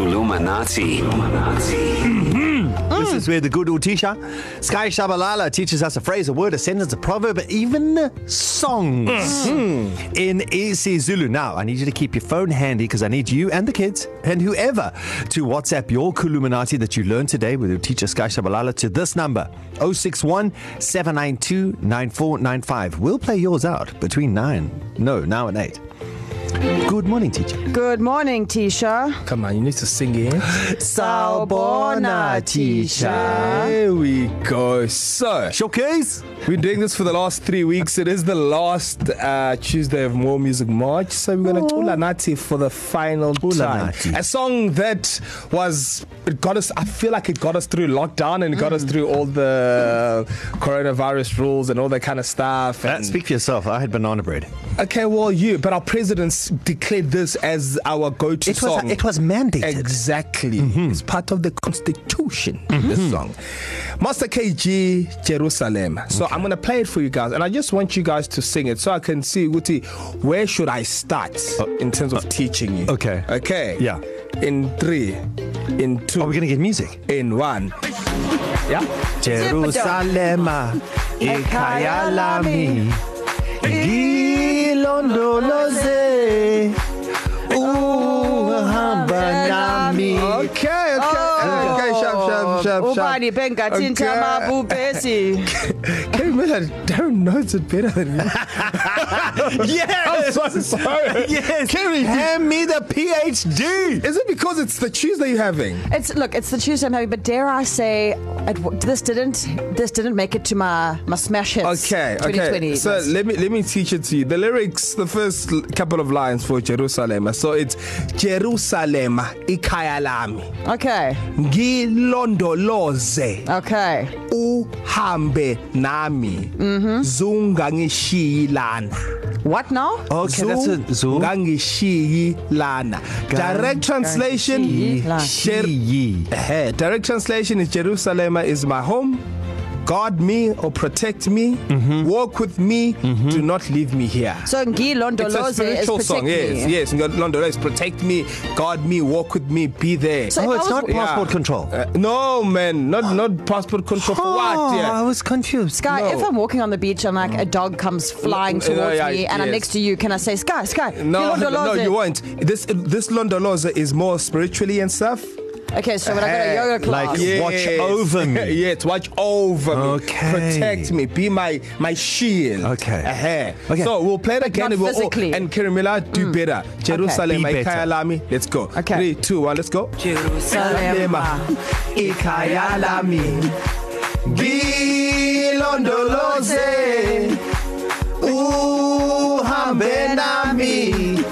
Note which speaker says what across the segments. Speaker 1: Illuminati.
Speaker 2: This is where the good old teacher, Sky Shabalala, teaches us a phrase, a word, a sentence, a proverb, even songs in isiZulu. Now, I need you to keep your phone handy because I need you and the kids and whoever to WhatsApp your Kuluminati that you learned today with your teacher, Sky Shabalala, to this number 061 792 9495. We'll play yours out between 9, no, now and 8. Good morning, teacher.
Speaker 3: Good morning, Tisha.
Speaker 4: Come on, you need to sing it.
Speaker 3: Sawubona, teacher.
Speaker 4: There we go. So,
Speaker 2: Showcase.
Speaker 4: we're doing this for the last three weeks. It is the last uh, Tuesday of More Music March. So, we're going to Ulanati for the final time.
Speaker 2: Ulanati.
Speaker 4: A song that was, it got us, I feel like it got us through lockdown and it got mm. us through all the coronavirus rules and all that kind of stuff.
Speaker 2: Uh,
Speaker 4: and-
Speaker 2: speak for yourself. I had banana bread.
Speaker 4: Okay, well, you, but our presidents declared this as our go-to
Speaker 2: It was-
Speaker 4: song.
Speaker 2: it was mandated.
Speaker 4: Exactly. Mm-hmm. It's part of the constitution, mm-hmm. this song. Master KG Jerusalem. So okay. I'm going to play it for you guys, and I just want you guys to sing it so I can see, Wuti, where should I start uh, in terms of uh, teaching you?
Speaker 2: okay.
Speaker 4: Okay.
Speaker 2: Yeah.
Speaker 4: In three, in two,
Speaker 2: Are we going to get music?
Speaker 4: in one. Yeah?
Speaker 2: Jerusalema
Speaker 4: eh,
Speaker 2: ikhaya lami ngilondoloze
Speaker 4: Uh,
Speaker 2: uhamba nami
Speaker 4: Okay, okay, oh. okay, sharp, sharp, sharp, sharp.
Speaker 3: Ubani bengathinta
Speaker 4: Okay.
Speaker 3: amabubesi.
Speaker 4: Kevin Miller, Darren knows it better than me. yes! I'm so sorry.
Speaker 2: yes Kerry hand me the phd
Speaker 4: Is it because it's the Tuesday you're having?
Speaker 3: It's look, it's the Tuesday I'm having, but dare I say, it, this didn't, this didn't make it to my my smash hits.
Speaker 4: Okay,
Speaker 3: 2020.
Speaker 4: okay. So let me let me teach it to you. The lyrics, the first l- couple of lines for Jerusalem. So it's Jerusalem ikhaya lami.
Speaker 3: okay,
Speaker 4: Ngilondoloze
Speaker 3: okay.
Speaker 4: uhambe nami. Mhm. Zunga ngishiyi lana.
Speaker 3: What now?
Speaker 2: okay that's a zoom
Speaker 4: Ngangishiyi lana. Direct translation
Speaker 3: ngangishiyi lana.
Speaker 4: Jer- Uh, direct translation is Jerusalem is my home. Guard me or protect me. Mm-hmm. Walk with me. Mm-hmm. Do not leave me here.
Speaker 3: So ngilondoloze is protect
Speaker 4: song.
Speaker 3: me.
Speaker 4: Yes, yes. London is protect me, guard me, walk with me, be there.
Speaker 3: So-
Speaker 2: oh
Speaker 3: I
Speaker 2: it's
Speaker 3: was-
Speaker 2: not passport
Speaker 4: Yeah.
Speaker 2: control
Speaker 4: uh, no, man, not not passport control for what?
Speaker 2: Oh, I
Speaker 4: Yeah.
Speaker 2: was confused
Speaker 3: Sky,
Speaker 4: No.
Speaker 3: no. if I'm walking on the beach and like a dog comes flying
Speaker 4: No,
Speaker 3: towards
Speaker 4: yeah,
Speaker 3: me and I'm
Speaker 4: yes.
Speaker 3: next to you, can I say, Sky, Sky,
Speaker 4: No, no,
Speaker 3: ngilondoloze?
Speaker 4: you won't. This this Londoloza is more spiritually and stuff.
Speaker 3: Okay, so when I go to
Speaker 4: Uh,
Speaker 3: yoga class,
Speaker 2: like- Watch over me.
Speaker 4: yes, watch over
Speaker 2: Okay.
Speaker 4: me. Protect me. Be my my shield.
Speaker 2: Okay.
Speaker 4: Uh-huh.
Speaker 2: Okay.
Speaker 4: Okay. So we'll play it again.
Speaker 3: not
Speaker 4: and we'll,
Speaker 3: physically.
Speaker 4: and Kirimila, do mm. better. Jerusalem,
Speaker 2: Be
Speaker 4: okay.
Speaker 2: better.
Speaker 4: Ikayalami. Let's go.
Speaker 3: Okay.
Speaker 4: Three, two, one. Let's go.
Speaker 3: Salema.
Speaker 4: Ikayalami. Ngilondoloze. Uhambe nami.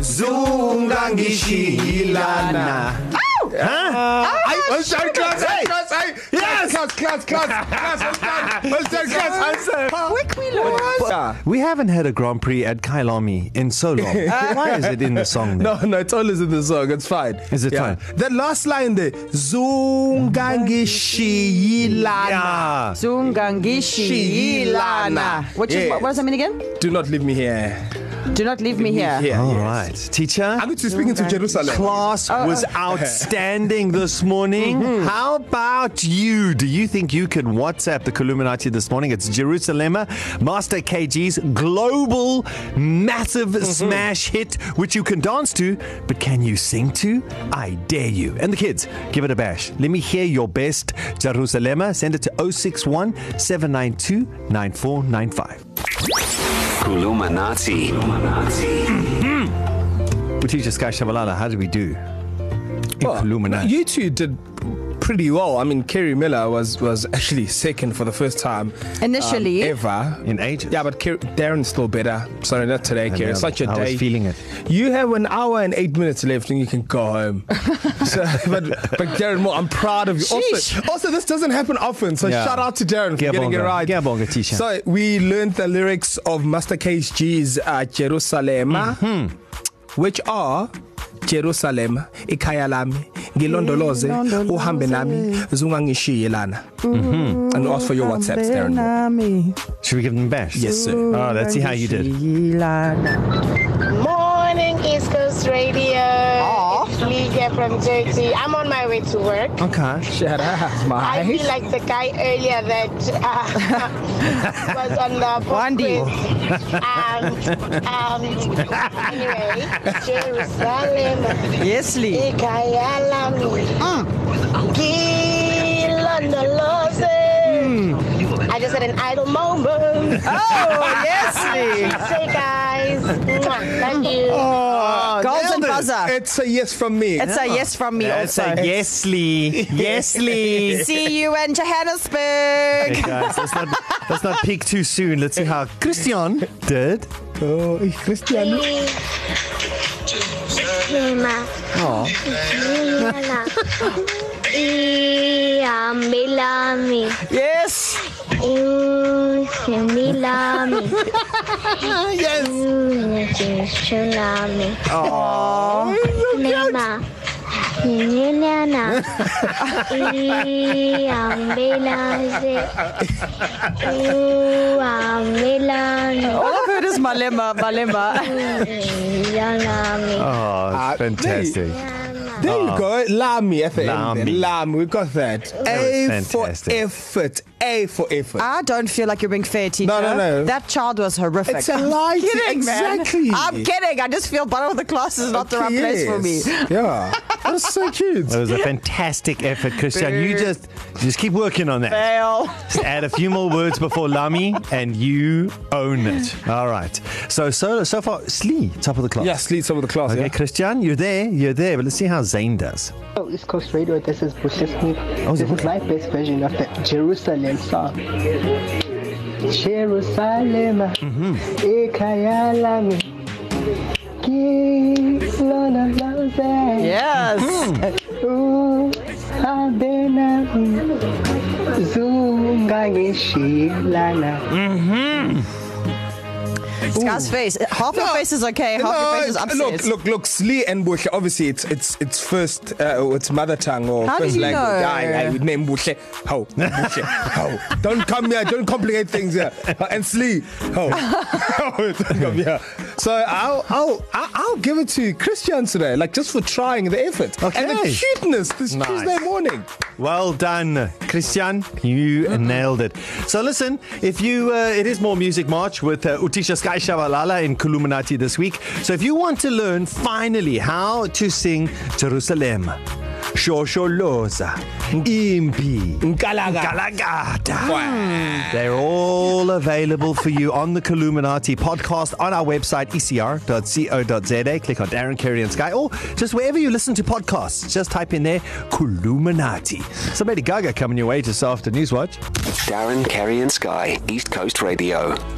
Speaker 4: Zunga ngishilana.
Speaker 3: Oh!
Speaker 2: Uh,
Speaker 4: Ay, was schon Klaus, hey, Klaus, hey. Yes. Klaus, Klaus, Klaus, Klaus, was done? Was done, Klaus?
Speaker 3: Quick wheeler.
Speaker 4: Answer.
Speaker 2: we haven't had a grand prix at kailami in so long why is it in the song then?
Speaker 4: No, no, it's always in the song. It's fine.
Speaker 2: Is it
Speaker 4: yeah.
Speaker 2: fine?
Speaker 4: That last line there, Zungangishilana.
Speaker 2: yeah
Speaker 3: Zungangishiyilana. Which is what, what does that mean again?
Speaker 4: Do not leave me here.
Speaker 3: Do not leave me here.
Speaker 4: Here.
Speaker 2: All
Speaker 4: yes.
Speaker 2: right, teacher.
Speaker 4: I'm going to be speaking to Jerusalem.
Speaker 2: Class was outstanding this morning. Mm-hmm. How about you? Do you think you could WhatsApp the Columinati this morning? It's Jerusalema, Master KG's global massive mm-hmm. smash hit, which you can dance to, but can you sing to? I dare you. And the kids, give it a bash. Let me hear your best Jerusalema. Send it to 061 792 9495.
Speaker 1: Illuminati.
Speaker 2: We teach Sky Shabalala, how do we do?
Speaker 4: Well,
Speaker 2: Illuminati.
Speaker 4: Oh, You two did pretty well. I mean, Kerry Miller was was actually second for the first time
Speaker 3: Initially.
Speaker 4: um, ever
Speaker 2: In ages.
Speaker 4: Yeah, but Ker- Darren's still better. Sorry, not today, Kerry.
Speaker 2: man,
Speaker 4: Such a
Speaker 2: I
Speaker 4: day.
Speaker 2: was feeling it.
Speaker 4: You have an hour and eight minutes left, and you can go home. so, but but Darren Moore, I'm proud of you. Also,
Speaker 3: Sheesh.
Speaker 4: also, this doesn't happen often. So
Speaker 2: Yeah.
Speaker 4: yeah. shout out to Darren for
Speaker 2: Giyabonga.
Speaker 4: getting it right.
Speaker 2: Giyabonga, Tisha.
Speaker 4: So we learned the lyrics of Master KSG's uh, Jerusalem, mm-hmm. which are. Jerusalem ikhaya lami ngilondoloze uhambe nami zungangishiye lana mm-hmm. and ask for your WhatsApps Darren Moore.
Speaker 2: Should we give them a bash?
Speaker 4: Yes, sir.
Speaker 2: Oh, let's see how you did.
Speaker 5: Morning, East Coast Radio. Aww. It's Liga
Speaker 1: here from Jersey. I'm on my way to work.
Speaker 2: Okay.
Speaker 4: Shut up,
Speaker 1: I
Speaker 4: my.
Speaker 1: feel like the guy earlier that uh, was on the pop
Speaker 5: Wandy.
Speaker 1: quiz. Um, um, anyway, Jerusalem,
Speaker 5: Yes, Lee.
Speaker 1: Ikayalami, Kilondolose. I just had an idle moment.
Speaker 5: Oh, yes, Lee.
Speaker 1: Say, guys, Mwah. love you.
Speaker 2: Oh,
Speaker 5: Golden
Speaker 2: nailed it.
Speaker 5: buzzer.
Speaker 4: It's a yes from me.
Speaker 5: It's a yes from me
Speaker 2: That's
Speaker 5: also.
Speaker 2: a yes, Lee. Yes, Lee.
Speaker 5: See you in Johannesburg.
Speaker 2: Hey guys, let's not, let's not peak too soon. Let's see how Christian did. Ah,
Speaker 4: Oh, Christian.
Speaker 6: Milami,
Speaker 5: Yes.
Speaker 6: Milami,
Speaker 2: Yes.
Speaker 6: Tsunami.
Speaker 4: Oh,
Speaker 6: Nema, Nana, Milami, Milami,
Speaker 5: All I've heard is Malema, Malema.
Speaker 6: Yanami.
Speaker 2: Oh,
Speaker 4: Ah,
Speaker 2: fantastic.
Speaker 4: There you go. Lami at the end.
Speaker 2: Lami.
Speaker 4: then. Lami. We got that. A
Speaker 2: was
Speaker 4: for
Speaker 2: fantastic.
Speaker 4: effort. A for effort.
Speaker 5: I don't feel like you're being fair, teacher.
Speaker 4: No, no, no.
Speaker 5: That child was horrific.
Speaker 4: It's a lie.
Speaker 5: kidding, man.
Speaker 4: exactly.
Speaker 5: I'm kidding. I just feel bottom of the class is not the right place for me.
Speaker 4: Yes. Yeah. That's so cute.
Speaker 2: That was a fantastic effort, Christian. You just just keep working on that.
Speaker 5: Fail.
Speaker 2: Just add a few more words before Lami, and you own it. All right. So so so far, Slee, top of the class.
Speaker 4: Yes, lead some of the class.
Speaker 2: Okay,
Speaker 4: Yeah.
Speaker 2: Christian, you're there. You're there. But let's see how Zane does.
Speaker 7: Hello, Oh, East Coast Radio. This is Bushy Smith.
Speaker 2: Oh, is
Speaker 7: this
Speaker 2: it
Speaker 7: is my best version of the Jerusalem song. Jerusalem,
Speaker 2: Mm-hmm.
Speaker 7: ikayalami, kilonolose,
Speaker 5: Yes.
Speaker 7: uhambenami, zungangishilana.
Speaker 5: Sky's face. Half your face is okay. Half your face is upset.
Speaker 4: look, look, look, Slee and Buhle. Obviously, it's it's it's first, uh, it's mother tongue or
Speaker 5: How did
Speaker 4: first
Speaker 5: you
Speaker 4: language.
Speaker 5: know?
Speaker 4: I, I would name Buhle. How? Buhle. How? Don't come here. Don't complicate things here. And Slee. How? don't come here. So I'll I'll I'll I'll give it to Christian today, like just for trying the effort
Speaker 2: Okay.
Speaker 4: and the cuteness this
Speaker 2: Nice.
Speaker 4: nice. Tuesday morning.
Speaker 2: Well done, Christian. You nailed it. So listen, if you, uh, it is more Music March with uh, Utisha Sky Shabalala in Kuluminati this week. So if you want to learn finally how to sing Jerusalem, Shosholoza, Impi,
Speaker 4: Nkalaga.
Speaker 2: Galagata.
Speaker 4: Wow.
Speaker 2: They're all available for you on the Columinati podcast on our website, E ecr.co.za. Click on Darren Kerry and Sky, or just wherever you listen to podcasts. Just type in there, Columinati. Somebody Gaga coming your way just after Newswatch.
Speaker 8: Darren, Kerry, and Sky, East Coast Radio.